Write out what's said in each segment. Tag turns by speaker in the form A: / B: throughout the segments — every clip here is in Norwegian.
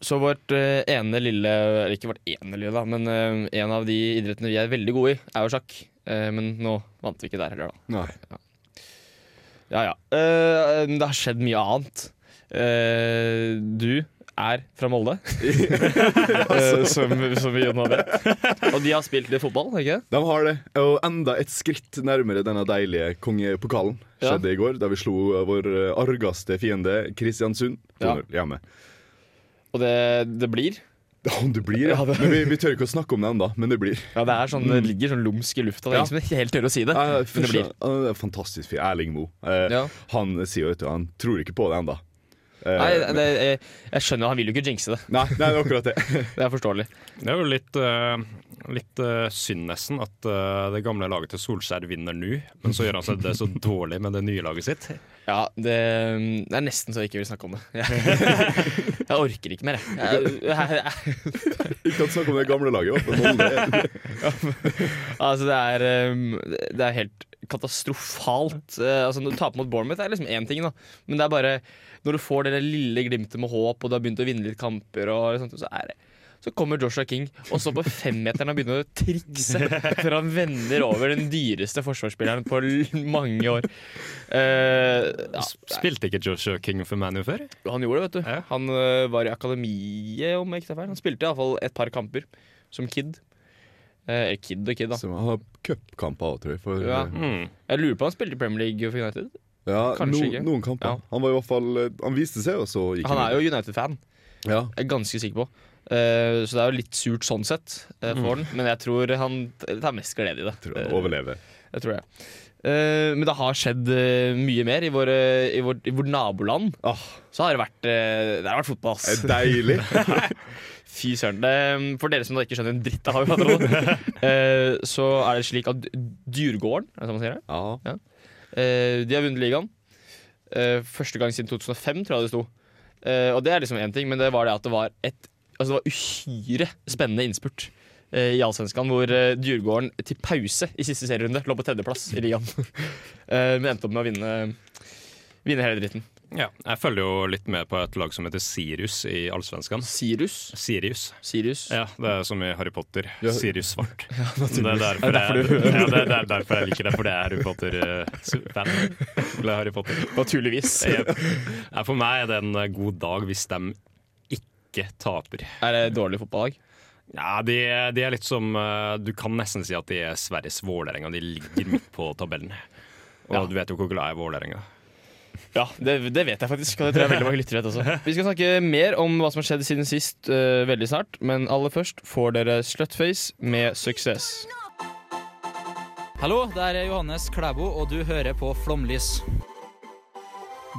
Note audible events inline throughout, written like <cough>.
A: Så vårt eh, ene lille Eller ikke vårt ene lille, da, men eh, en av de idrettene vi er veldig gode i, er jo sjakk. Eh, men nå vant vi ikke der heller, da.
B: Nei.
A: Ja, ja. Eh, men det har skjedd mye annet. Eh, du er fra <laughs> Molde, eh, som, som vi jo nå vet. Og de har spilt litt fotball, ikke
B: De har det. Og enda et skritt nærmere denne deilige kongepokalen.
A: Ja.
B: Skjedde i går, da vi slo eh, vår eh, argeste fiende, Kristiansund.
A: Ja.
B: 2-0 hjemme.
A: Og det, det blir.
B: Ja, om det blir, ja. Men vi, vi tør ikke å snakke om det ennå, men det blir.
A: Ja, Det er sånn, det ligger sånn lumsk i lufta. Det er
B: Ja.
A: ingen som helt tør å si det.
B: Eh,
A: <laughs> men det
B: Først,
A: blir.
B: eh, det er fantastisk fyr. Erling Moe. Eh,
A: Ja.
B: Han sier jo vet du, han tror ikke på det ennå.
A: Nei, det, jeg, jeg skjønner, han vil jo ikke jinxe det.
B: Nei, nei, det er
A: <laughs>
B: akkurat det.
A: Det er forståelig.
C: Det er jo litt, eh, litt eh, synd nesten at eh, det gamle laget til Solskjær vinner nå, men så gjør han seg det så dårlig med det nye laget sitt.
A: Ja, det, det er nesten så jeg ikke vil snakke om det. <laughs> Jeg, orker ikke mer, jeg. jeg, jeg, jeg
B: Ikke at snakke om det gamle laget. i hvert fall. Molde.
A: Altså det er, um, det er helt katastrofalt. Eh, Altså Når du taper mot Bournemouth, er liksom én ting, da. men det er bare når du får det der lille glimtet med håp, og du har begynt å vinne litt kamper, og sånt, så er det så kommer Joshua King, og så på femmeteren og begynner å trikse før han vender over den dyreste forsvarsspilleren på l- mange år. Eh, ja,
C: S- Spilte ikke Joshua King for ManU før?
A: han gjorde det, vet du.
C: Ja.
A: Han ø, var i akademiet, om jeg ikke tar feil. Han spilte iallfall et par kamper som kid. Eh, kid og kid, da.
B: Så Han har cupkamper òg, tror jeg. For, eh,
A: Ja.
C: Mm.
A: Jeg lurer på om han spilte i Premier League for United.
B: Ja,
A: Kanskje
B: no,
A: ikke.
B: noen kamper.
A: Ja.
B: Han var i hvert fall eh, Han viste seg, og så gikk
A: Han er jo United-fan,
B: Ja.
A: jeg er ganske sikker på. Eh, så det er jo litt surt sånn sett eh, for han, men jeg tror han t- tar mest glede i det.
B: Tror han
A: Eh,
B: overlever.
A: jeg tror det. Eh, men det har skjedd eh, mye mer. I, våre, i, vårt, I vårt naboland
B: Ah,
A: så har det vært, eh, det har vært fotball. ass.
B: er deilig!
A: Fy søren. Det, um, for dere som da ikke skjønner en dritt av hva vi prater om, eh, så er det slik at Djurgården, er det sånn man sier det?
B: Ja.
A: Eh, de har vunnet ligaen. Eh, første gang siden 2005, tror jeg det sto. Eh, og det er liksom én ting, men det var det at det var et Altså det var uhyre spennende innspurt eh, i Allsvenskan, hvor eh, Djurgården til pause i siste serierunde lå på tredjeplass i ligaen. <laughs> Eh, men endte opp med å vinne, vinne hele dritten.
C: Ja. Jeg følger jo litt med på et lag som heter Sirius i Allsvenskan.
A: Sirius.
C: Sirius.
A: Sirius.
C: Ja, det er som i Harry Potter. Sirius svart. det,
A: Ja,
C: er derfor
A: derfor
C: jeg,
A: du-
C: <laughs> ja, det, er, det er derfor jeg liker det, for det er Harry eh, Potter-fan. Eller Harry Potter. <laughs>
A: Naturligvis.
C: Jep. Nei, For meg er det en eh, god dag hvis de ikke taper.
A: Er det dårlig fotballag?
C: Ja, de, de er litt som eh, Du kan nesten si at de er Sveriges Vålerenga. De ligger midt på tabellen. Og
A: Ja.
C: du vet jo hvor glad jeg er i Vålerenga.
A: Ja, det, det vet jeg faktisk. Og det tror jeg veldig mange lyttere vet også. Vi skal snakke mer om hva som har skjedd siden sist, eh, veldig snart. Men aller først får dere Slutface med suksess.
D: Hallo, det er Johannes Klæbo, og du hører på Flomlys.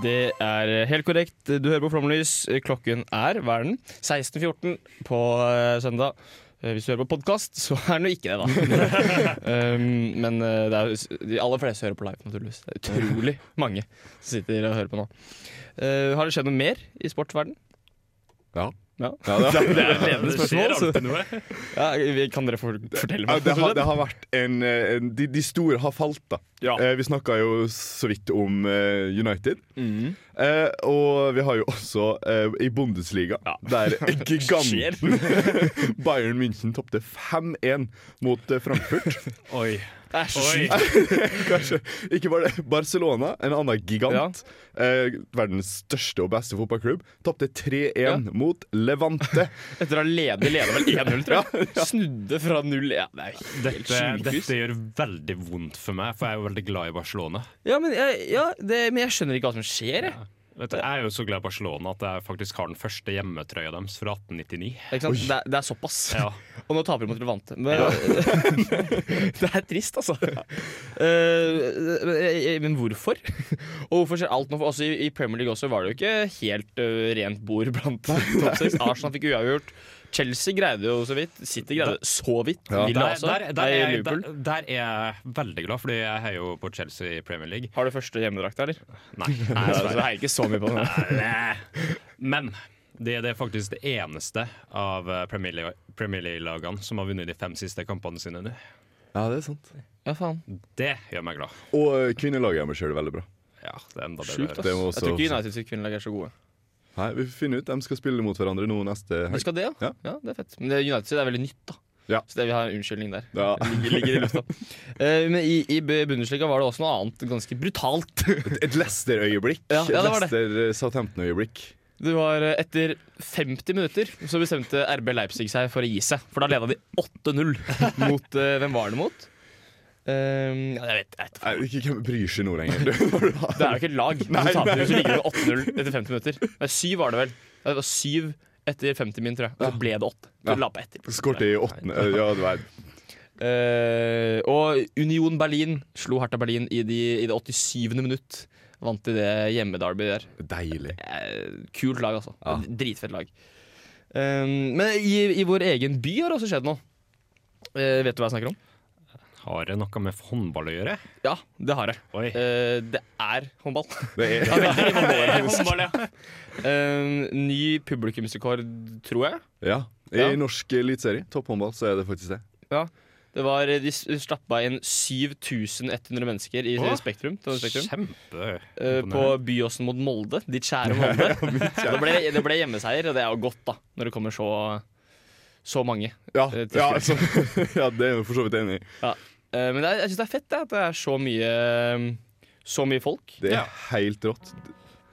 A: Det er helt korrekt. Du hører på Flomlys. Klokken er, hva er den? 16.14 på eh, søndag. Eh, Hvis du hører på podkast, så er den jo ikke det, da. um, men eh, det er, jo- de aller fleste hører på live, naturligvis. Det er utrolig mange som sitter og hører på nå. Eh, har det skjedd noe mer i sportsverden?
B: Ja.
A: Ja.
B: Ja, det, har,
A: Det er et ledende spørsmål. altså. Så,
C: alltid noe.
A: <laughs> ja, vi- kan dere for, fortelle
B: ja,
A: meg?
B: det, har, det har vært en, eh, en de, de store har falt, da.
A: Ja.
B: Eh, vi snakka jo så vidt om eh, United. Eh, og vi har jo også eh, i Bundesliga, <laughs> der giganten <laughs> Bayern München tapte 5-1 mot eh, Frankfurt. <laughs>
C: Oi.
A: Det er så
C: Oi.
A: sykt.
B: Kanskje ikke bare det. Barcelona, en annen gigant, eh, verdens største og beste fotballklubb, tapte 3-1
A: Ja.
B: mot Levante.
A: Etter å ha ledet de leder vel 1-0, tror jeg. Snudde fra 0 ja, Det er helt
C: Dette,
A: sjukehus.
C: dette gjør veldig vondt for meg, for jeg er jo veldig glad i Barcelona.
A: Ja, men jeg, ja, det, men jeg skjønner ikke hva som skjer. Jeg.
C: Vet du, jeg er jo så glad i Barcelona at jeg faktisk har den første hjemmetrøya deres fra 1899.
A: Ikke sant? Det, er, det er såpass.
C: Ja.
A: Og nå taper de mot Levante. Men, <laughs> det er trist, altså. Eh, men hvorfor? Og hvorfor skjer alt nå? For Også i, I Premier League også var det jo ikke helt eh, rent bord blant topp seks. Arsenal fikk uavgjort. Chelsea greide jo så vidt. City greide så vidt. Villa
C: Der,
A: også.
C: der, der,
A: Nei,
C: er jeg,
A: Liverpool.
C: der, der er jeg veldig glad, Fordi jeg heier jo på Chelsea i Premier League.
A: Har du første hjemmedrakt, eller?
C: Nei,
A: <laughs> Nei,
C: nei
A: så
C: dessverre.
A: jeg heier ikke så mye på den.
C: Nei. Men det, det er faktisk det eneste av eh, Premier League- Premier League-lagene som har vunnet de fem siste kampene sine nå.
B: <laughs> Ja, det er sant.
A: Ja, faen.
C: Det gjør meg glad.
B: Og eh, kvinnelaget hjemme kjører veldig bra.
C: Ja, det er enda
A: Sjukt,
C: bedre.
A: ass.
B: Det må
A: Jeg
B: også-
A: tror ikke United sitt kvinnelag er så gode.
B: Nei, Vi får finne ut. De skal spille mot hverandre nå neste
A: De
B: helg.
A: skal det, ja.
B: Ja.
A: ja. Det er fett. Men det- United sitt er veldig nytt, da.
B: Ja.
A: Så det vi har en unnskyldning der.
B: Ja.
A: Ligger, ligger i lufta. <laughs> Eh, men i, i Bundesliga var det også noe annet ganske brutalt.
B: <laughs>
A: <laughs>
B: Et Leicester-øyeblikk. eh,
A: Ja, ja, det var det.
B: Leicester-Southampton-øyeblikk.
A: Det var eh, Etter 50 minutter så bestemte RB Leipzig seg for å gi seg. For da leda de <laughs> 8-0 mot eh, Hvem var det mot? Eh, ja, jeg vet, jeg vet
B: Nei, Ikke hvem bryr seg nå lenger. <laughs> Når du har-
A: Det er jo ikke et lag. Hvis du taper, så ligger det 8-0 etter 50 minutter. Nei, syv var det vel. Det var syv etter 50 min, tror jeg. Og så ble det åtte. Så
B: Ja.
A: la på etter.
B: Skårte i åttende Ja, det var
A: Eh, og Union Berlin slo Hertha Berlin i, de, i det 87. minutt. Vant i det hjemmedarby der.
B: deilig.
A: Eh, kult lag, altså.
B: Ja.
A: Dritfett lag. Eh, men i, i vår egen by har det også skjedd noe. Eh, vet du hva jeg snakker om?
C: Har det noe med håndball å gjøre?
A: Ja, det har jeg.
C: Oi.
A: Eh, det er <laughs> håndball.
B: Det er,
A: Ja, veldig <laughs> håndball, ja. Eh, ny publikumsrekord, tror jeg.
B: ja.
A: Ja.
B: I norsk eliteserie, topphåndball, så er det faktisk det.
A: Det var, de s- slappa inn 7100 mennesker i
C: Åh,
A: Spektrum, til spektrum
C: Kjempe
A: eh, på Byåsen mot Molde. Ditt <laughs> kjære Molde. det, ble, det ble hjemmeseier, og det er jo godt, da, når det kommer så, så mange.
B: Ja,
A: Eh, til
B: ja, altså, <laughs> ja det er jeg for så vidt enig i.
A: Eh, men det er, jeg syns det er fett det, at det er så mye eh, så mye folk
B: Det er helt rått.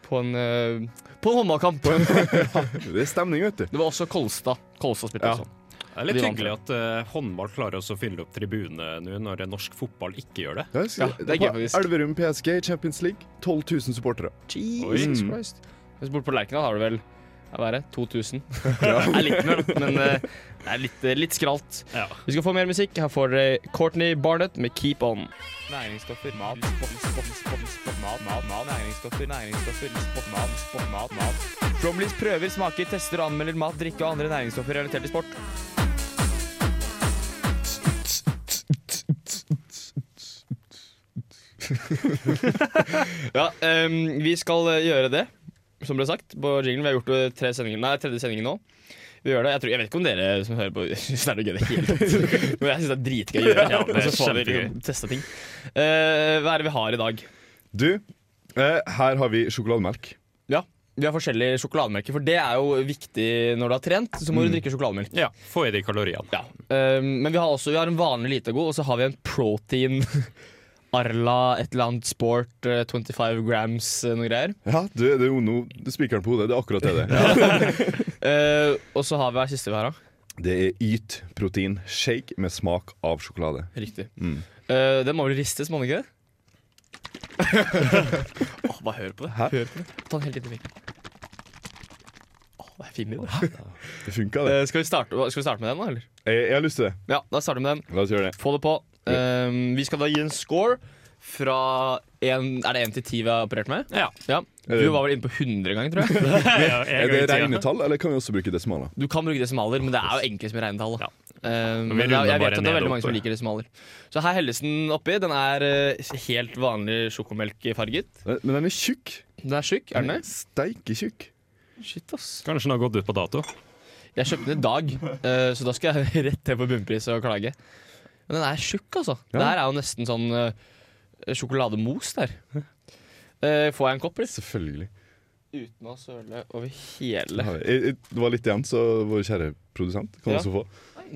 A: på en, eh, på en håndballkamp.
B: Det er stemning, vet du.
A: Det var også Kolstad. Kolstad spilte sånn.
B: Ja.
A: også.
C: Det er litt
A: De vant
C: hyggelig at eh, håndball klarer også å fylle opp tribunene nå når norsk fotball ikke gjør det.
B: Ja, det
A: Ja, det er gøy, faktisk.
B: Elverum PSG i Champions League. 12 000 supportere.
A: Jesus
B: Oi.
A: Christ. Hvis bort på Lerkendal har du vel ja, hva er det,
B: <laughs>
A: 2000. det <laughs> er litt mer, da, men eh, det er litt, eh, litt skralt.
C: Ja.
A: Vi skal få mer musikk. Her får dere Courtney Barnett med 'Keep On'. Næringsstoffer, mat, mat, mat, mat, næringsstoffer, næringsstoffer, sport, mat, sport, mat, mat. Bromleys prøver, smaker, tester og anmelder mat, drikke og andre næringsstoffer relatert til sport. Ja, ehm, vi skal eh, gjøre det, som ble sagt, på jinglen. Vi har gjort det tre sendinger, nei, tredje sendingen nå. Vi gjør det. Jeg, tror, jeg vet ikke om dere som hører på, <laughs> syns det er noe gøy i det hele tatt. Men jeg syns det er dritgøy å gjøre.
C: Ja, det er
A: Og så får vi
C: kjempegøy.
A: liksom teste ting. Eh, hva er det vi har i dag?
B: Du, eh, her har vi sjokolademelk.
A: Ja, vi har forskjellige sjokolademelker, for det er jo viktig når du har trent. Så må du drikke sjokolademelk.
C: Ja, Få i de kaloriene. <laughs>
A: Ja. Ehm, men vi har også vi har en vanlig Litago, og så har vi en protein <laughs> Arla, et eller annet sport, eh, 25 grams, eh, noe greier.
B: Ja, du, det er jo noe Du spiker den på hodet. Det er akkurat det det er.
A: Eh, og så har vi hva er det siste vi har, da?
B: Det er Yt protein shake med smak av sjokolade.
A: Riktig.
B: Mm.
A: Eh, den må vel ristes, må den ikke det? <laughs> Åh, bare hør på det.
B: Hæ?
A: Hør på det. Ta den helt inn i mikken. Åh, det er fin lyd. da.
B: Det funka, det.
A: Eh, skal, vi starte, skal vi starte med den, da? eller?
B: Jeg, jeg har lyst til det.
A: Ja, da starter vi med den.
B: La oss gjøre det.
A: Få det på. Eh, vi skal da gi en score fra en, Er det 1 til 10 vi har operert med?
C: Ja. Ehm.
A: Du var vel inne på 100 ganger, tror jeg.
C: <laughs>
B: Er det regnetall, eller kan vi også bruke desimaler?
A: Du kan bruke desimaler, men det er jo enklest med regnetall. da. Eh,
C: vi
A: men det er,
C: runder
A: jeg
C: bare
A: vet at det
C: ned
A: er veldig
C: og
A: mange som
C: oppover.
A: liker desimaler. Så her helles den oppi. Den er eh, helt vanlig sjokomelkfarget.
B: Eh, Men den er tjukk. Eh,
A: Den er tjukk, er den det?
B: Steike tjukk.
C: Mm.
A: Shit, ass.
C: Kanskje den har gått ut på dato.
A: Jeg kjøpte den i dag, eh, så da skal jeg <laughs> rett til på bunnpris og klage. Men den er tjukk, altså.
B: Ja.
A: Det her er jo nesten sånn eh, sjokolademos der. Eh, får jeg en kopp, eller?
B: Selvfølgelig.
A: Uten å søle over hele
B: Ja, jeg, jeg, det var litt igjen, så vår kjære produsent kan
A: Ja.
B: også få.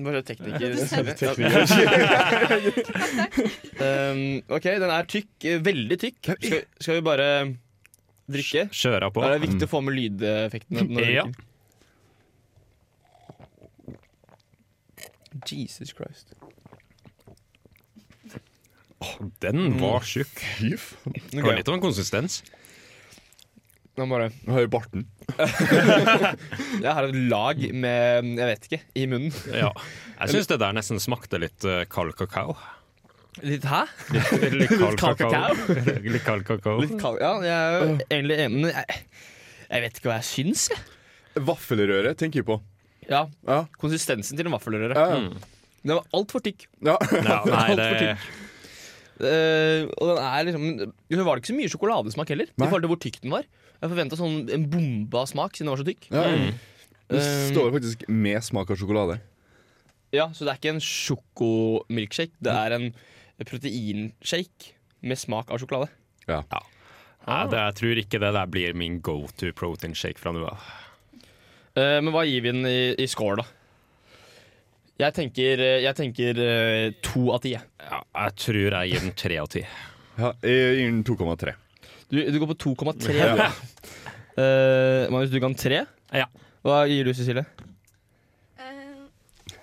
A: Bare tekniker.
B: <laughs>
A: um, ok, den er tykk. eh, Veldig tykk. Skal, skal vi bare drikke?
C: Kjøra på.
A: Da er det viktig å få med lydeffektene. når du
C: Ja.
A: drikker. Jesus Christ.
C: Den
A: Mm.
C: var tjukk.
B: Fy faen.
C: Det
A: Ok.
C: Litt av en konsistens.
A: Nå bare
B: Jeg har jo barten.
A: Jeg har et lag med Jeg vet ikke. I munnen.
C: Ja. Jeg syns det der nesten smakte litt eh, kald kakao.
A: Litt hæ?
C: <laughs> Litt
A: kald
C: <laughs> Litt kald kakao.
A: Litt kald. Ja, jeg er jo egentlig enig, men jeg, jeg vet ikke hva jeg syns, jeg.
B: Vaffelrøre tenker jeg på.
A: Ja,
B: Ja.
A: Konsistensen til en vaffelrøre.
B: Ja.
A: Den var altfor tykk.
B: Ja.
C: Ja, nei, det
A: Eh, og den er liksom Så var det ikke så mye sjokoladesmak heller, i
B: Nei.
A: forhold til hvor tykk den var. Jeg forventa sånn en bombe av smak, siden den var så tykk.
B: Ja. Det
A: Eh,
B: står faktisk med smak av sjokolade.
A: ja, Så det er ikke en sjokomilkshake, det er en proteinshake med smak av sjokolade.
C: Nei, det, jeg tror ikke det der blir min go to protein shake fra nå av.
A: Eh, men hva gir vi den i, i score, da? Jeg tenker, eh, jeg tenker eh, to av ti. jeg.
C: Ja, jeg tror jeg gir den tre av ti.
B: Ja, jeg gir den 2,3.
A: Du, du går på 2,3. du. Eh, Magnus, du kan tre.
C: Ja.
A: Hva gir du, Cecilie?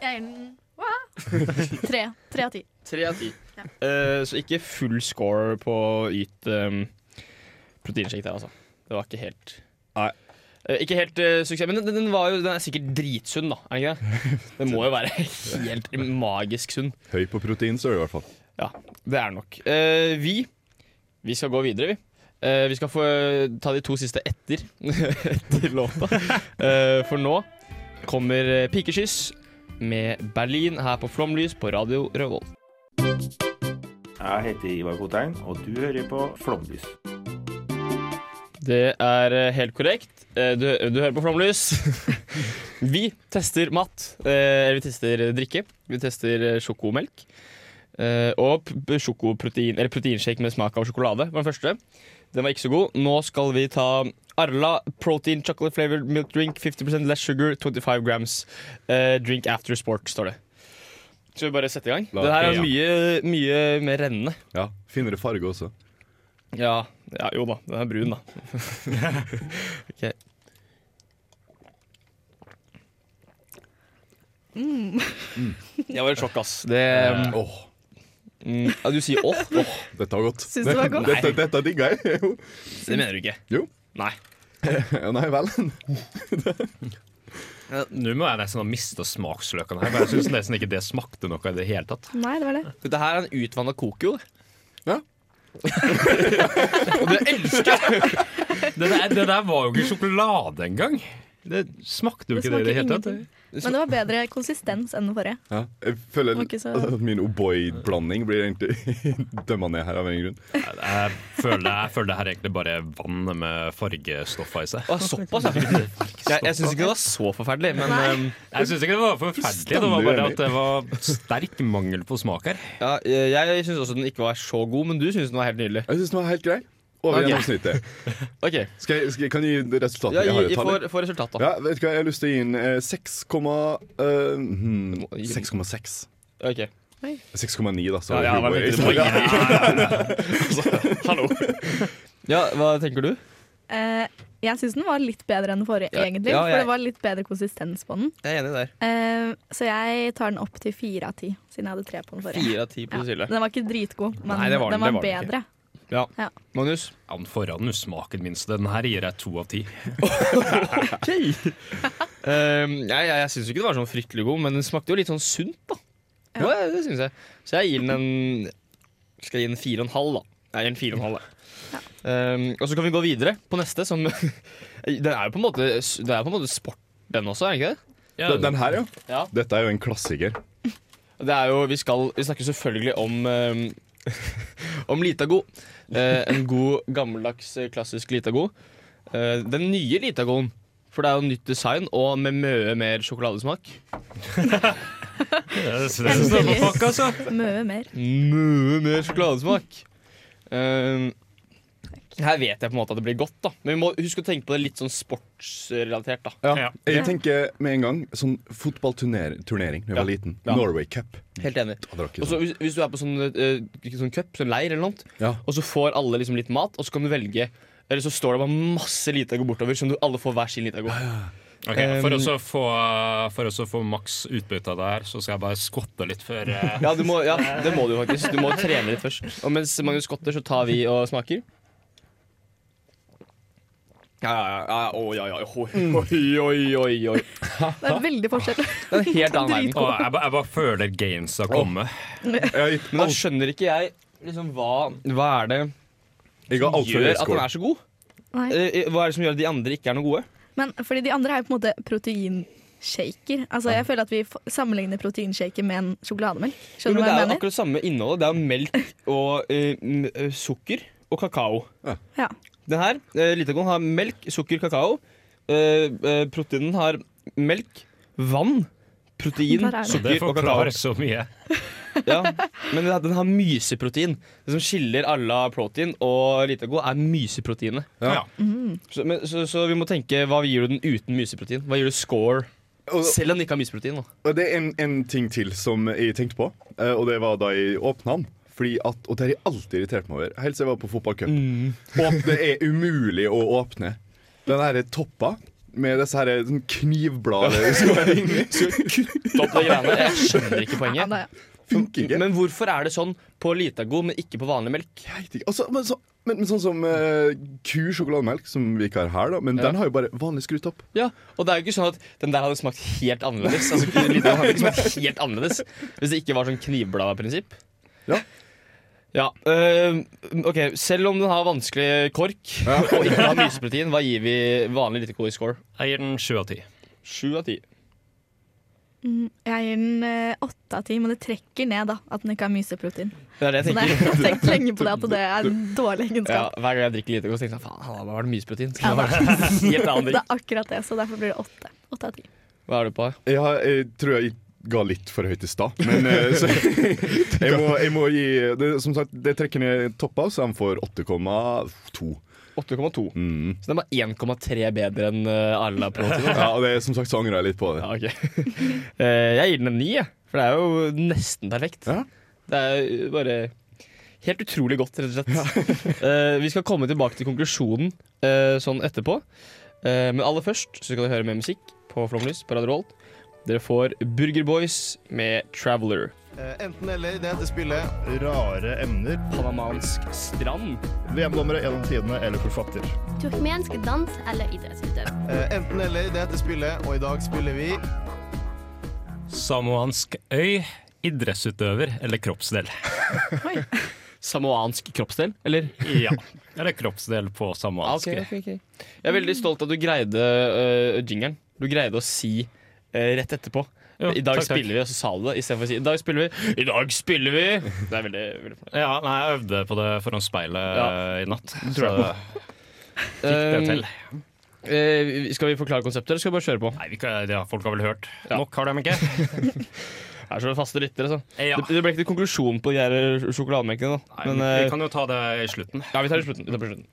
E: Jeg gir den Eh,
A: <laughs>
E: hva? Tre. Tre av ti.
A: Tre av ti. Eh, så ikke full score på yt um, proteinshake der, altså. Det var ikke helt
B: Nei.
A: Eh, ikke helt eh, suksess, men den, den, var jo, den er sikkert dritsunn, da. Er den ikke det? Den må jo være helt magisk sunn.
B: Høy på protein, så er det i hvert fall.
A: Ja, det er den nok. Eh, vi vi skal gå videre, vi. Eh, vi skal få eh, ta de to siste etter, <laughs> etter låta. Eh, for nå kommer eh, Pikeskyss med Berlin her på Flomlys på Radio Revolt.
F: Jeg heter Ivar Kotein, og du hører på Flomlys.
A: Det er eh, helt korrekt. Eh, Du, du hører på Flomlys. <laughs> Vi tester mat. eh, Eller vi tester drikke. Vi tester eh, sjokomelk. Eh, Og p- sjokoprotein, eller proteinshake med smak av sjokolade var den første. Den var ikke så god. Nå skal vi ta Arla protein chocolate flavored milk drink. 50 less sugar, 25 grams. Eh, Drink after sport, står det. Skal vi bare sette i gang?
B: La-
A: Det her er
B: ja.
A: mye, mye mer rennende.
B: Ja, Finere farge også.
A: Ja, ja, jo da. Den er brun, da. ok.
B: Mm.
A: Mm. Jeg var i sjokk, ass. Det
B: Eh, Åh,
A: mm, ja, Du sier åh?
B: dette var godt.
E: Syns du det var godt?
B: Dette, dette digga jeg. <laughs> Jo.
A: Det mener du ikke.
B: jo.
A: Nei.
B: Ja, Nei vel.
C: Nå må jeg nesten ha mista smaksløkene her. For jeg syns nesten ikke det smakte noe i det hele tatt.
E: Nei, det var det.
A: Dette her er en utvanna kokio.
B: Ja.
A: <laughs> Og det elsker jeg!
C: Det der, det der var jo ikke sjokolade engang. Det smakte jo
E: Det
C: ikke det i det
E: smaker
C: hele tatt.
E: ingenting. Men det var bedre konsistens enn den forrige.
B: Ja, jeg føler altså,
E: Var ikke så-
B: at min O'boy-blanding blir egentlig <laughs> dømma ned her av en grunn.
C: Jeg føler, jeg føler det her er egentlig bare vann med fargestoffer i seg.
A: Å, såpass, ja. Jeg, jeg syns ikke det var så forferdelig, men
E: Nei.
A: ehm,
C: Jeg syns ikke det var forferdelig, det var bare at det var sterk mangel på smak her.
A: ja, jeg, jeg syns også den ikke var så god, men du syns den var helt nydelig.
B: Jeg syns den var helt grei. Over
A: Ok.
B: gjennomsnittet.
A: Ok,
B: Skal jeg, skal jeg, kan jeg gi resultatet?
A: ja,
B: Jeg har
A: gi,
B: jo tallet.
A: for, for resultat, da.
B: Ja, vet du hva, jeg har lyst til å gi den eh, 6, komma, eh, hmm, 6,6.
A: Ok.
B: 6,9, da. Så
A: Ja, ja, hva
B: Huawei.
A: tenkte du på? Altså, hallo. Ja, hva tenker du?
E: Eh, jeg syns den var litt bedre enn den forrige,
A: Ja,
E: egentlig.
A: ja, jeg-
E: For det var litt bedre konsistens på den.
A: Jeg er enig der.
E: Eh, så jeg tar den opp til fire av ti, siden jeg hadde tre på den forrige.
A: Fire av ti på
E: Ja.
A: Cecilie.
E: Den var ikke dritgod, men
A: Nei, det var den-
E: den
A: det
E: var,
A: var den ikke. <laughs>
E: bedre.
A: Magnus?
C: Ja, men Foran den smaken minst. Den her gir jeg to av ti.
A: <laughs> Ehm, jeg jeg, jeg syns ikke den var sånn fryktelig god, men den smakte jo litt sånn sunt, da. Ja. det syns jeg. Så jeg gir den en Skal jeg gi den fire og en halv, da. Jeg gir den fire og en halv, jeg. Ehm, og så kan vi gå videre på neste, som <laughs> Den er jo på en måte, det er jo på en måte sport, den også, er den ikke det?
B: Den, den her, ja.
A: Ja.
B: Dette er jo en klassiker.
A: Det er jo, vi, skal, vi snakker selvfølgelig om eh, <laughs> Om Litago. Eh, en god, gammeldags, eh, klassisk Litago. Eh, den nye Litagoen. For det er jo nytt design og med mye mer sjokoladesmak.
C: Jeg synes det var fuck, altså.
E: <laughs> Mye mer.
A: Mye mer sjokoladesmak! Eh, her vet jeg på en måte at det blir godt, da. Men vi må huske å tenke på det litt sånn sportsrelatert, da.
B: Ja.
C: Ja.
B: Jeg tenker med en gang sånn fotballturnering da jeg
A: Ja.
B: var liten.
A: Ja.
B: Norway Cup.
A: Helt enig.
B: Da drakk jeg
A: Og så
B: sånn.
A: hvis, hvis du er på sånn, eh, sånn cup, sånn leir eller noe,
B: Ja.
A: og så får alle liksom litt mat, og så kan du velge Eller så står det bare masse Litago bortover, som du alle får hver sin Litago.
C: Ok, for å så få, for å så få maks utbytte av det her, så skal jeg bare skotte litt før eh,
A: <laughs> Ja, du må, ja, det må du faktisk. Du må trene litt først. Og mens Magnus skotter, så tar vi og smaker. Ja, ja, ja, ja. Å, ja, ja. Oi, oi, oi, oi.
E: Det er veldig forskjell.
A: <laughs> Det er en helt annen verden.
C: Å, jeg, ba- jeg bare føler gainsa komme.
B: Jeg har gitt
A: Men da skjønner ikke jeg liksom hva, hva er det
B: jeg ga altfor
A: gjør
B: høy
A: at den
B: score.
A: er så god?
E: Nei.
A: Eh, eh, Hva er det som gjør at de andre ikke er noe gode?
E: Men fordi de andre er jo på en måte proteinshaker. Altså, jeg føler at vi f- sammenligner proteinshaker med en sjokolademelk.
A: Jo,
E: Skjønner
A: men
E: du
A: det er
E: hva jeg
A: jo
E: mener?
A: akkurat samme innholdet. Det er melk og eh, m- eh, sukker og kakao.
E: Ja.
A: Den her, eh, Litagon, har melk, sukker, kakao. Eh, eh, proteinen har melk, vann, protein,
E: Der er det.
C: Det
A: sukker og kakao.
C: forklarer så mye.
A: Ja. Men den har- den har myseprotein. Det som skiller alla protein og Litago, er myseproteinet. Mm.
B: Ja.
A: Så, men, så, så vi må tenke hva gir du den uten myseprotein? Hva gir du score? Selv om den ikke har misprotein. da.
B: Og det er en, en ting til som jeg tenkte på, eh, og det var da jeg åpna den. Fordi at, og det har jeg alltid irritert meg over, helt siden jeg var på fotballcup.
A: Mm.
B: Og at det er umulig å åpne. Den derre toppa med disse her sånn knivbladet som
A: <laughs>
B: er inni.
A: Kutt opp de greiene. Jeg skjønner ikke poenget.
B: Funker ikke.
A: Men hvorfor er det sånn på Litago, men ikke på vanlig melk?
B: Altså, men, så, men, men sånn som eh, ku sjokolademelk, som vi ikke har her, da, men
A: Ja.
B: den har jo bare vanlig skrutopp.
A: Ja, Og det er jo ikke sånn at den der hadde smakt helt annerledes. Altså, Litago hadde ikke smakt helt annerledes Hvis det ikke var sånn knivbladprinsipp.
B: Ja.
A: Ja, øh, ok, Selv om den har vanskelig kork <laughs> og ikke har myseprotein, hva gir vi vanlig Litago i score?
C: Jeg gir den sju av ti.
A: Sju av ti.
E: Mm, Jeg gir den eh, åtte av ti, men det trekker ned da, at den ikke har myseprotein.
A: Det er det
E: Så
A: jeg
E: det-
A: tenker.
E: <laughs> jeg har tenkt lenge på det, at det
A: <laughs>
E: er en dårlig
A: Ja,
E: egenskap.
A: hver gang jeg drikker Litago, så tenker jeg sånn, faen, han har bare myseprotein.
E: Ja,
A: Skal det være
E: da.
A: en <laughs> helt annen
E: det er
A: drikk?
E: akkurat det, så derfor blir det åtte. Åtte av ti.
A: Hva er du på?
B: Jeg, har, jeg tror jeg ga litt for høyt i stad, men eh, <laughs> så, jeg, må, jeg må gi det, Som sagt, det trekker ned toppa, så han får 8,2.
A: 8,2.
B: Mm.
A: Så den var 1,3 bedre enn uh, Arla Protein.
B: Ja, og det, som sagt så angrer jeg litt på det.
A: <laughs> Eh, jeg gir den en ni, jeg. For det er jo nesten perfekt. Det er jo bare helt utrolig godt, rett og slett. <laughs> Eh, vi skal komme tilbake til konklusjonen eh, sånn etterpå. Eh, men aller først så skal dere høre mer musikk på Flomlys på Radio Rolt. Dere får Burger Boys med 'Traveler'.
G: Enten eller, det heter spillet. Rare emner.
A: Panamansk strand.
G: VM-dommere gjennom tidene eller forfatter.
H: Turkmensk dans eller idrettsutøver.
G: Eh, Enten eller, det heter spillet, og i dag spiller vi
C: Samoansk øy, idrettsutøver eller kroppsdel?
A: Samoansk kroppsdel, eller?
C: Ja. <laughs> Eller kroppsdel på samoansk.
A: Ok, ok, ok. Jeg er veldig stolt av at du greide øh, jingeren. Du greide å si øh, rett etterpå.
C: Jo,
A: I dag
C: takk, takk.
A: spiller vi, og så sa du det. Istedenfor å si 'I dag spiller vi'. I dag spiller vi! Det er veldig, veldig fornøyd.
C: Ja, nei, jeg øvde på det foran speilet
A: Ja.
C: eh, i natt.
A: Det tror jeg
C: så fikk det til.
A: Eh, skal vi forklare konseptet, eller skal vi bare kjøre på?
C: Nei, vi kan, ja, Folk har vel hørt. Nok har de ikke.
A: Her så faste lyttere, så.
C: <laughs> Ja.
A: Det, det ble ikke konklusjon på de her sjokolademelkene, da.
C: Nei,
A: Men,
C: men vi
A: eh,
C: kan jo ta det i slutten.
A: Ja, vi tar det i slutten. Vi tar det i slutten.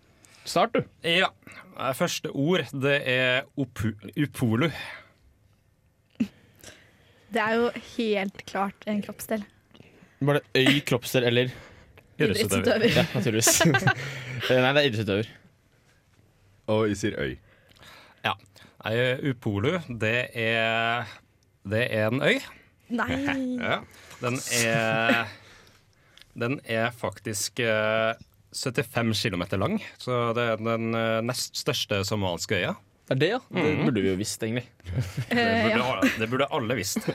A: Start, du.
C: Ja. Eh, Første ord, det er opu upolu.
E: Det er jo helt klart en kroppsdel.
A: Var det øy, kroppsdel eller
E: Idrettsutøver.
A: Ja, naturligvis. <laughs> Eh, Nei, det er idrettsutøver.
B: Og jeg sier øy.
C: Ja. Nei, upolu, det er Det er en øy.
E: Nei.
C: Ja. Den er Den er faktisk eh, 75 km lang, så det er den eh, nest største somaliske øya.
A: Det er det, ja. Det burde vi jo visst, egentlig.
C: Det
E: Eh,
C: burde,
E: ja.
C: alle- det burde alle visst.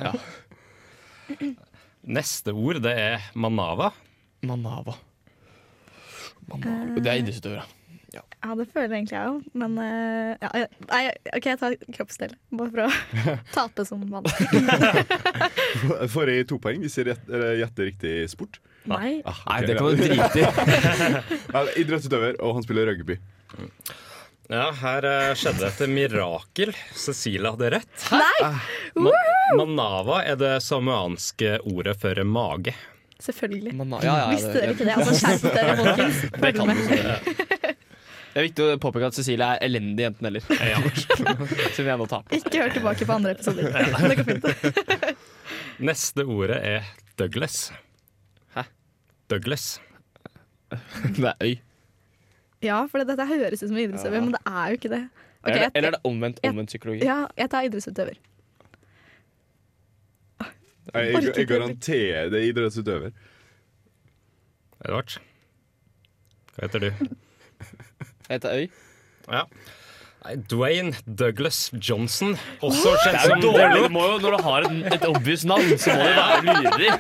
C: Neste ord det er manava.
A: Manava.
E: Eh.
A: Det er idrettsutøvere.
E: Ja, det føler egentlig jeg òg, men eh, ja, jeg- nei, OK, jeg tar kroppsdel. Bare for å
A: <laughs>
E: tape som vanlig.
B: Får jeg to poeng hvis jeg gjett- eller gjetter riktig sport?
E: Nei.
A: Nei, det kan du drite <laughs>
B: i. Idrettsutøver, og han spiller rugby.
C: Ja, her eh, skjedde et mirakel. Cecilia hadde rett. Ah,
E: Nei!
C: Ma manava er det samoanske ordet for mage.
E: Selvfølgelig.
A: ja, ja,
E: Visste dere
A: det-
E: ikke det? Altså, skjerp dere, folkens.
A: <laughs> Det kan
E: Følg
A: du
E: med.
A: selvfølgelig. Det er viktig å påpeke at Cecilie er elendig enten eller. <laughs>
C: Eh,
A: Som jeg nå tar på.
E: Ikke hør tilbake på andre episoder. Det går fint.
C: Neste ordet er Douglas.
A: Hæ?
C: Douglas.
A: Det er øy.
E: Ja, for dette høres ut som idrettsutøver, men det er jo ikke det. Ok,
A: eller,
E: jeg-
A: eller er det omvendt, omvendt psykologi?
E: Ja, jeg tar idrettsutøver.
B: Jeg, jeg, jeg garanterer det er idrettsutøver.
C: Edvard, hva heter du?
A: Jeg heter Øy.
C: Ja. Nei, Dwayne Douglas Johnson, også
A: Det
C: kjent
A: er jo
C: som
A: dårlig.
C: Delo.
A: Du må jo, når du har et, et obvious navn, så må det være lurig.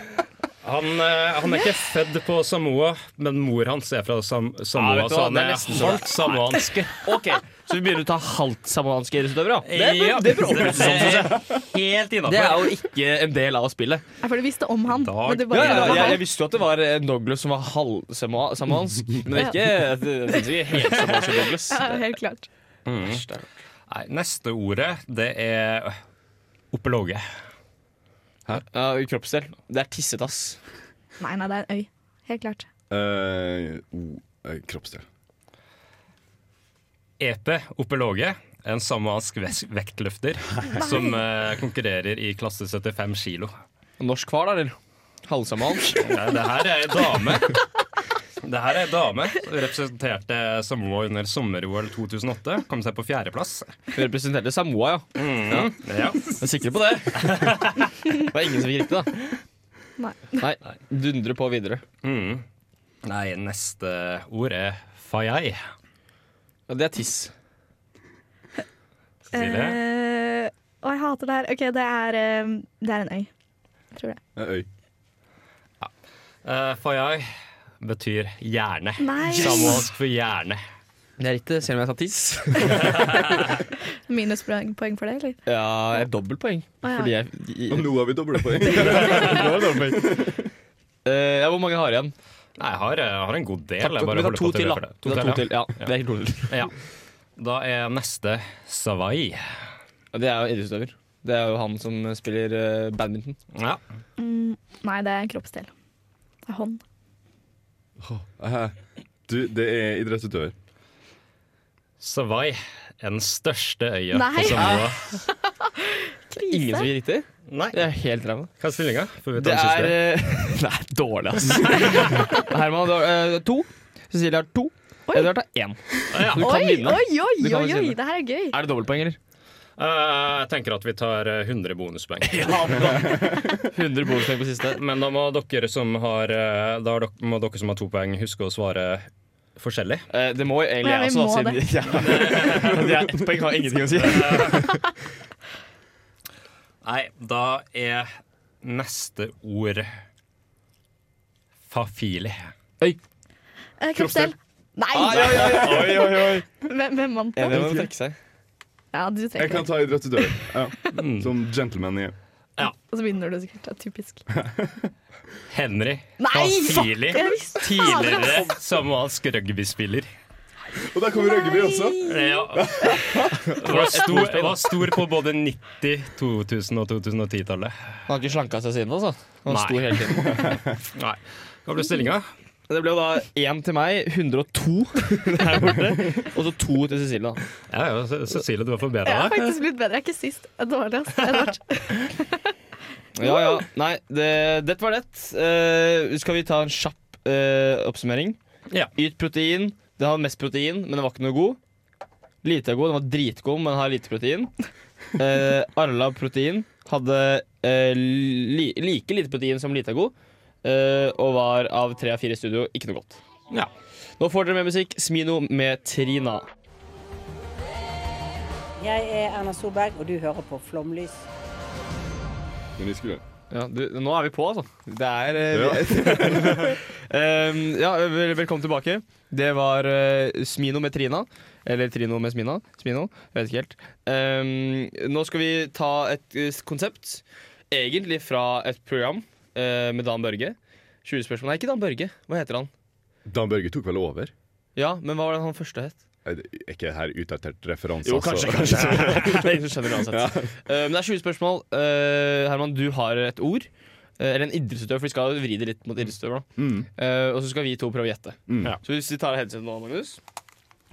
C: Han, eh, han er ikke født på Samoa, men mor hans er fra Sam
A: Ja,
C: Samoa,
A: vet du
C: så
A: hva,
C: han
A: det er
C: er
A: nesten så det
C: halvt samoansk.
A: Ok, Så vi begynner å ta halvt samoanske idrettsutøvere? da? Det,
C: Ja,
A: bør- det, bør oppleves
C: det
A: sånn, synes jeg.
C: Helt innafor.
A: det er jo ikke en del av spillet.
E: Nei, for du visste om han. Men du
A: Ja,
E: bare,
A: ja,
E: <laughs>
A: ja, jeg, jeg visste jo at det var eh, Douglas som var halvsamoansk, men det er ikke, det, det er ikke helt samoansk Douglas.
E: Ja, helt klart.
C: Nei, neste ordet, det er øh, oppelåge.
A: Ja, kroppsdel. Det er tisset, ass.
E: Nei, nei, det er en øy. Helt klart.
B: Eh, o- eh, kroppsdel.
C: Epe oppelåge E En samalsk ves- vektløfter som eh, konkurrerer i klasse 75 kilo.
A: Norsk hval, eller? Halvsamalsk?
C: Nei, det her er ei dame. Det her er ei dame. som Representerte Samoa under sommer-OL 2008. Kom seg på fjerdeplass.
A: Representerte Samoa, ja.
C: Mm, ja.
A: Jeg er sikker på det. Det var ingen som fikk riktig, da.
E: Nei.
A: Nei, Dundre på videre.
C: Mm. Nei, neste ord er fajai.
A: Ja, det er tiss.
E: Eh, og jeg hater det her. OK, det er, eh, det er en øy. Tror jeg.
B: Øy.
C: Eh, fajai betyr hjerne.
E: Nei.
C: Samoansk for hjerne.
A: Det er riktig, selv om jeg sa tiss.
E: Minuspoeng poeng for det, eller?
A: Ja, jeg har dobbeltpoeng.
E: Å, ja.
A: Fordi jeg,
B: Og nå har vi doble poeng.
A: Eh, ja, hvor mange har jeg igjen?
C: Nei, jeg har, eh, jeg har en god del.
A: Takk,
C: jeg bare
A: vi tar
C: holder
A: to
C: på at jeg
A: til, da.
C: løper det.
A: Vi tar to til, ja. Det er
C: Ja. Da er neste Savai.
A: Det er jo idrettsutøver. Det er jo han som spiller eh, badminton.
C: Ja.
E: Mm, nei, det er en kroppsdel. Det er hånd.
B: Hæ? Du, det er idrettsutøver.
C: Savai er den største øya
E: Nei.
C: på Samoa.
E: Krise.
A: Ingen som gir riktig?
C: Nei.
A: Det er helt ræva.
C: Hva er stillinga? Får vi ta
A: Det
C: den
A: er
C: siste?
A: eh, Det er dårlig, ass. Herman har eh, to. Cecilie har to. Edvard har én.
C: <laughs> ja.
A: Du kan
E: Oi,
A: vinne.
E: oi,
A: Du
E: oi,
A: kan
E: oi,
A: faktisk
E: oi,
A: vinne.
E: det her er gøy.
A: Er det dobbeltpoeng, eller?
C: Eh, jeg tenker at vi tar eh, 100 <laughs> bonuspoeng.
A: 100 bonuspoeng på siste.
C: Men da må dere som har, eh, da dok- må dere som har to poeng, huske å svare forskjellig.
A: Eh, det må egentlig
C: Ja,
A: jeg
C: vi
A: også,
C: må
A: da, <laughs> siden ja. Det er ett poeng har ingenting å si.
C: Nei, da er neste ord fafili.
A: Øy.
E: Eh, kroppsdel. Nei!
A: Ah,
B: Oi, oi, oi.
E: Hvem, hvem vant
B: Ja, det må
E: det?
B: trekke
A: seg.
E: Ja, du trekker
B: Jeg kan ta idrettsutøver. Ja. Som gentleman igjen.
E: Og så vinner du sikkert. Det er typisk.
C: Henry
E: Nei,
C: Fafili.
E: fuck, jeg visste fader,
C: Tidligere
E: ass.
C: samoansk rugbyspiller.
B: Og der kommer rugby også.
C: Ja. <laughs> Var stor, var stor på både 90-, 2000- og 2010-tallet.
A: Han har ikke slanka seg siden, altså? Han
C: Nei.
A: sto hele tiden.
C: Nei. Hva ble stillinga?
A: Det ble jo da én til meg, 102 <laughs> der borte, og så to til Cecilie. da.
C: Ja, ja, Ce- Cecilie, du har
E: Jeg
C: forbedra
E: har
C: deg.
E: faktisk blitt bedre. Jeg er ikke sist. Jeg er dårlig, ass. Edvard.
A: Ja, ja. Nei, det, dette var det. Eh, skal vi ta en kjapp eh, oppsummering?
C: Ja.
A: Yt protein. Det har mest protein, men den var ikke noe god. Lite god. Den var dritgod, men har lite protein. Eh, Arla protein hadde eh, li, like lite protein som lite god, eh, og var av tre av fire i studio ikke noe godt.
C: Ja.
A: Nå får dere mer musikk. Smino med Trina.
I: Jeg er Erna Solberg, og du hører på Flomlys.
A: Ja, du, nå er vi på, altså. Det er eh, <laughs>
B: Ja.
A: um, Ja, vel, velkommen tilbake. Det var eh, Smino med Trina. Eller Trino med Smina. Smino, jeg vet ikke helt. Um, nå skal vi ta et eh, konsept, egentlig fra et program eh, med Dan Børge. 20 spørsmål. Nei, ikke Dan Børge. Hva heter han?
B: Dan Børge tok vel over?
A: Ja, men hva var det han første het?
B: Er det- er ikke det her utdatert referanse?
A: Jo,
B: altså?
A: kanskje, kanskje. det er ingen som skjønner det uansett. Eh, men det er 20 spørsmål. Eh, Herman, du har et ord. eh, eller en idrettsutøver, for vi skal vri det litt mot idrettsutøver. da.
B: Mm.
A: Eh, og så skal vi to prøve å gjette.
B: Mm.
A: Så hvis vi tar headsetet nå, Magnus,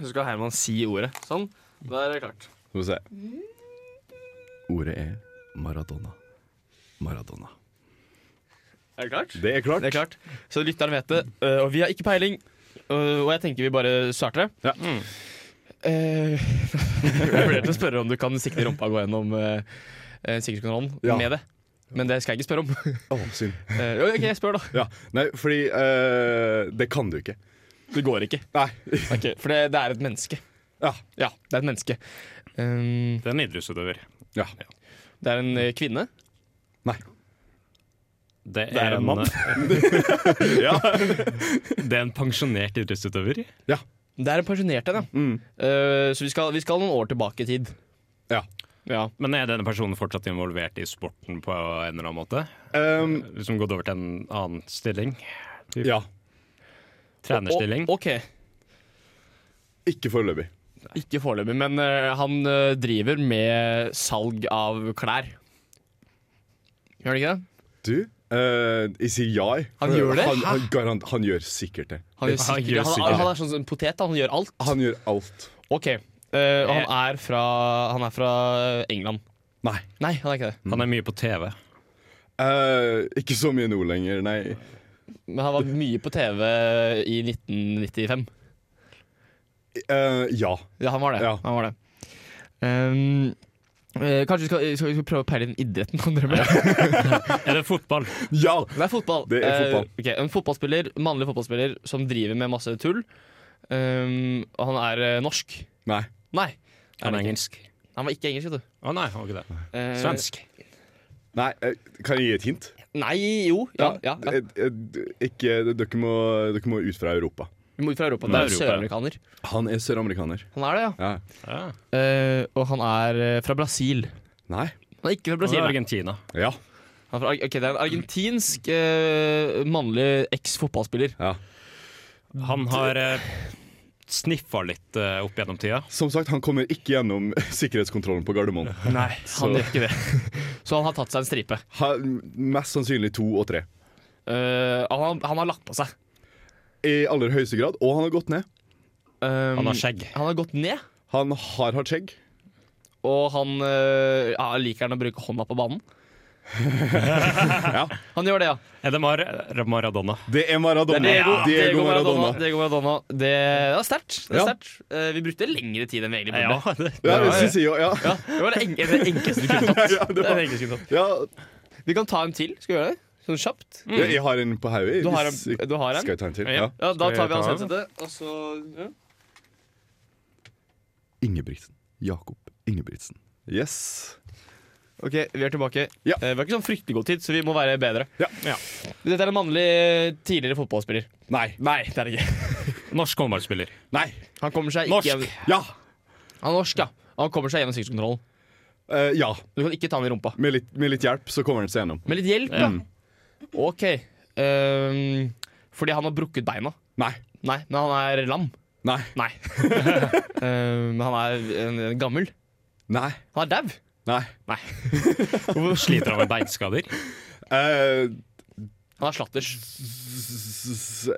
A: så skal Herman si ordet. Sånn. Da er det klart.
B: Skal vi se.
A: Mm.
B: Ordet er Maradona. Maradona.
A: Er det klart?
B: Det er klart.
A: Det er klart. Så lytteren vet det. eh, og vi har ikke peiling. eh, og jeg tenker vi bare starter. Mm. Eh,
B: Ja.
A: <laughs> jeg vurderte å spørre om du kan sikte rumpa og gå gjennom eh, eh, sikkerhetskontrollen
B: Ja.
A: med det. Men det skal jeg ikke spørre om.
B: Å, synd.
A: Eh, ok, spør da.
B: Ja. Nei, fordi eh, det kan du ikke.
A: Det går ikke.
B: Nei.
A: Ok, for det, det er et menneske.
B: Ja.
A: det er et menneske. Um,
C: det er en idrettsutøver.
B: Ja.
A: Det er en eh, kvinne.
C: Det er,
A: Det er en
C: <laughs>
A: mann.
C: ja. Det er en pensjonert idrettsutøver.
B: Ja.
A: Det er en pensjonert en, ja.
B: Mm.
A: Eh, så vi skal, vi skal noen år tilbake i tid.
B: Ja.
C: Men er denne personen fortsatt involvert i sporten på en eller annen måte?
B: Um,
C: Liksom gått over til en annen stilling? typ?
B: Ja.
C: Trenerstilling?
A: O- ok.
B: Ikke foreløpig.
A: Ikke foreløpig, men eh, han eh, driver med salg av klær. Gjør han ikke det?
B: Du, eh, jeg sier ja. jeg.
A: Han
B: For
A: gjør det?
B: Han, han,
A: Hæ?
B: garant, han gjør sikkert det.
A: Han, gjør sikkert, han, han, han er sånn som en potet, han gjør alt.
B: Han gjør alt.
A: Ok, Eh, og han er, fra, han er fra England.
C: Nei.
A: han er ikke det.
C: Han er mye på TV.
B: Eh, ikke så mye nå lenger, nei.
A: Men han var mye på TV i 1995.
B: Eh, ja.
A: Ja, han var det. Han var det. Ehm, eh, kanskje vi skal, skal, vi skal prøve å peile inn idretten han drømmer
C: Er det fotball?
B: Ja!
A: Det er fotball.
B: Det er fotball.
A: Eh, ok, En fotballspiller, mannlig fotballspiller som driver med masse tull. Ehm, og han er eh, norsk.
B: Nei.
A: Nei.
C: Han
A: ikke.
C: er engelsk.
A: Han var ikke engelsk, vet du.
C: Å nei, han var ikke det.
A: Eh,
C: Svensk.
B: Nei, eh, kan jeg gi et hint?
A: Nei, jo. Ja, ja, ja.
B: Eh, eh, Ikke, dere, må, dere må ut fra Europa.
A: Vi må ut fra Europa. Det er jo søramerikaner.
B: Han er søramerikaner.
A: Han er det, ja.
B: Ja.
A: Eh, og han er eh, fra Brasil.
B: Nei.
A: Han er ikke fra Brasil.
C: Han er
A: nei.
C: Argentina.
B: Ja.
A: Han er fra, ok, det er en argentinsk eh, mannlig eks-fotballspiller.
C: Han har eh, sniffa litt eh, opp gjennom tida.
B: Som sagt, han kommer ikke gjennom <laughs> sikkerhetskontrollen på Gardermoen.
A: Nei,
B: Så-
A: han gjør ikke det. <laughs> Så han har tatt seg en stripe.
B: Ha, mest sannsynlig to og tre.
A: Eh, han, han har lagt på seg.
B: I aller høyeste grad. Og han har gått ned.
A: Um,
C: Han har skjegg.
A: Han har gått ned,
B: Han har hatt skjegg.
A: og han eh, ja, liker han å bruke hånda på banen. Han gjør det, ja.
C: Er det Mar Maradona?
B: Det er Maradona.
A: Det er Diego,
B: Diego
A: Diego Maradona.
B: Maradona.
A: Diego Maradona. Det, det var sterkt. Det var
B: Ja.
A: sterkt. Eh, vi brukte lengre tid enn vi egentlig
C: Ja,
A: burde.
C: det-
B: Ja, det synes jeg jo, ja.
A: Ja, det var det, en, det enkleste du kunne tatt. Det er det enkleste du kunne tatt. Vi kan ta en til. Skal vi gjøre det? Sånn kjapt.
B: Ja, Jeg har en på hodet.
A: Du har
B: hvis-
A: en- du har en?
B: Mm. Skal jeg ta en til?
A: Ja, ja, da tar vi hans headset, og så ja.
B: Ingebrigtsen. Jakob Ingebrigtsen. Yes.
A: OK, vi er tilbake. Eh, Vi har ikke sånn fryktelig god tid, så vi må være bedre. Dette er en mannlig eh, tidligere fotballspiller.
B: Nei.
A: Nei, det er det ikke.
C: Norsk håndballspiller.
B: Nei.
A: Han kommer seg
C: Norsk.
A: ikke gjennom
B: Ja.
A: Han er norsk, ja. Han kommer seg gjennom sikkerhetskontrollen.
B: Eh, ja.
A: Du kan ikke ta ham i rumpa.
B: Med litt, med litt hjelp så kommer han seg gjennom.
A: Med litt hjelp, ja. OK. Ehm, fordi han har brukket beina.
B: Nei.
A: Nei, Men han er lam.
B: Nei.
A: Nei. Ehm, Men han er en, en gammel.
B: Nei.
A: Han er dau.
B: Nei.
A: Nei.
C: Sliter han med beinskader?
B: Eh,
A: han er slatters.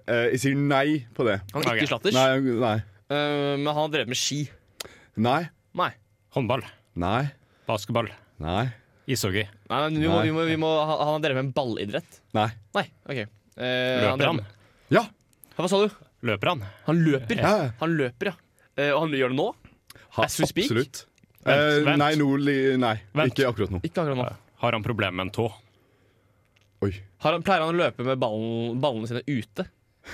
B: eh, jeg sier nei på det.
A: Han er ikke slatters?
B: Nei, nei.
A: Eh, men han har drevet med ski.
B: nei.
A: Nei.
C: Håndball.
B: Nei.
C: Basketball.
B: Nei.
C: Ishockey.
A: Nei, men vi må,
C: Nei.
A: vi må, vi må, han han har drevet med en ballidrett.
B: Nei.
A: Nei, OK. Eh,
C: Løper
A: drev
C: han?
A: med-
B: Ja.
A: Hva sa du?
C: Løper han?
A: Han løper.
B: Ja.
A: Han løper, ja. Eh, og han gjør det nå?
B: Ha,
A: As we speak?
B: absolutt.
C: Vent,
B: Eh,
C: vent.
B: Nei, nå li- nei.
C: Vent.
B: Ikke akkurat nå.
A: Ikke akkurat nå.
C: Har han problemer med en tå?
A: Har han, pleier han å løpe med ballen, ballene sine ute?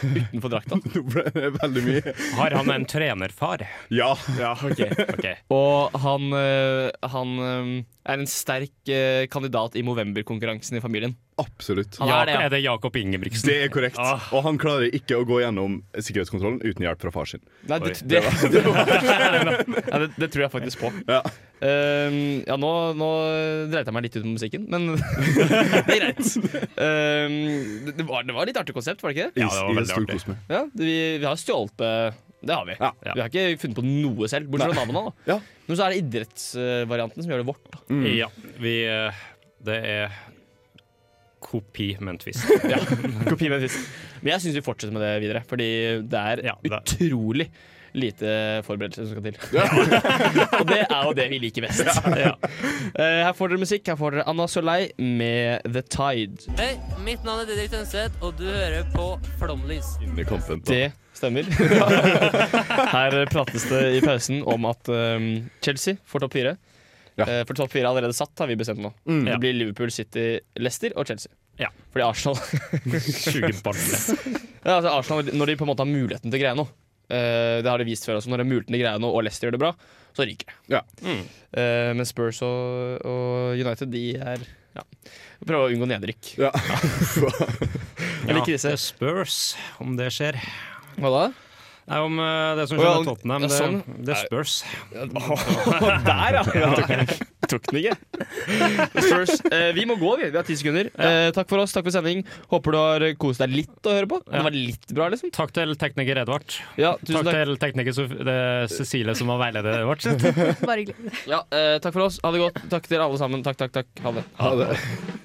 A: Utenfor
B: <laughs>
A: drakta?
B: <laughs> Nå ble det veldig mye.
C: Har han en trenerfar?
B: Ja.
C: Ok.
A: Og han, eh, han eh, er en sterk eh, kandidat i Movember-konkurransen i familien.
B: Absolutt.
A: <laughs> Han er det, ja.
C: Er det Jakob Ingebrigtsen?
B: Det er korrekt. Og han klarer ikke å gå gjennom sikkerhetskontrollen uten hjelp fra far sin.
A: Nei, det, det, <laughs> det, Nei, det, det tror jeg faktisk på.
B: Ja,
A: Ehm, ja nå, nå dreit jeg meg litt ut med musikken, men <laughs> det er greit. Ehm, det, det, var, det var litt artig konsept, var det ikke det?
C: Ja, det var
B: I- i en
C: veldig
B: stor
C: artig.
B: kos med.
A: Ja, vi, vi har stjålet det. Det har vi. Vi har ikke funnet på noe selv, bortsett fra naboene. da Men så er det idrettsvarianten som gjør det vårt. Da.
C: Ja, vi eh, Det er kopi med en twist.
A: <laughs> Ja, <laughs> kopi med en twist. Men jeg syns vi fortsetter med det videre, fordi det er utrolig lite forberedelser som skal til. Og det er jo det vi liker <laughs> best. Eh, her får dere musikk. Her får dere Anna Soleil med The Tide.
J: Hei, mitt navn er Didrik Tønseth, og du hører på Flomlys.
B: i kampen, da.
A: Det
C: <laughs>
A: stemmer. Her prates det i pausen om at um, Chelsea får topp fire. Eh, For topp fire er allerede satt, har vi bestemt nå.
C: Mm.
A: Det
C: Ja.
A: blir Liverpool, City, Leicester og Chelsea.
C: Ja.
A: Fordi Arsenal <laughs>
C: Suger ballen.
A: ja, altså Arsenal, Når de på en måte har muligheten til å greie noe eh, Det har de vist før også. Når de har muligheten til å greie noe, og Leicester gjør det bra, så ryker det.
B: Ja.
C: Mm.
A: Eh, men Spurs og, og United, de er ja. Prøver å unngå nedrykk.
B: Ja.
A: <laughs>
B: <laughs>
A: Eller
C: Ja,
A: krise.
C: det spørs om det skjer.
A: Hva da?
C: Nei, om eh, det som
A: Å,
C: skjer
A: ja,
C: med Tottenham,
A: ja,
C: det,
A: sånn.
C: det spørs.
A: <laughs> Der, ja! Jeg tok den ikke. Spurs, eh, vi må gå, vi. Vi har ti sekunder. Eh, takk for oss, takk for sending. Håper du har kost deg litt å høre på. Det var litt bra, liksom.
C: Takk til tekniker Edvard.
A: Ja, tusen
C: Takk
A: takk.
C: til tekniker Sof- det er Cecilie som var veileder vårt.
E: Bare hyggelig.
A: Ja, eh, takk for oss. Ha det godt. Takk til alle sammen. Takk, takk, takk. Ha det.
C: Ha det.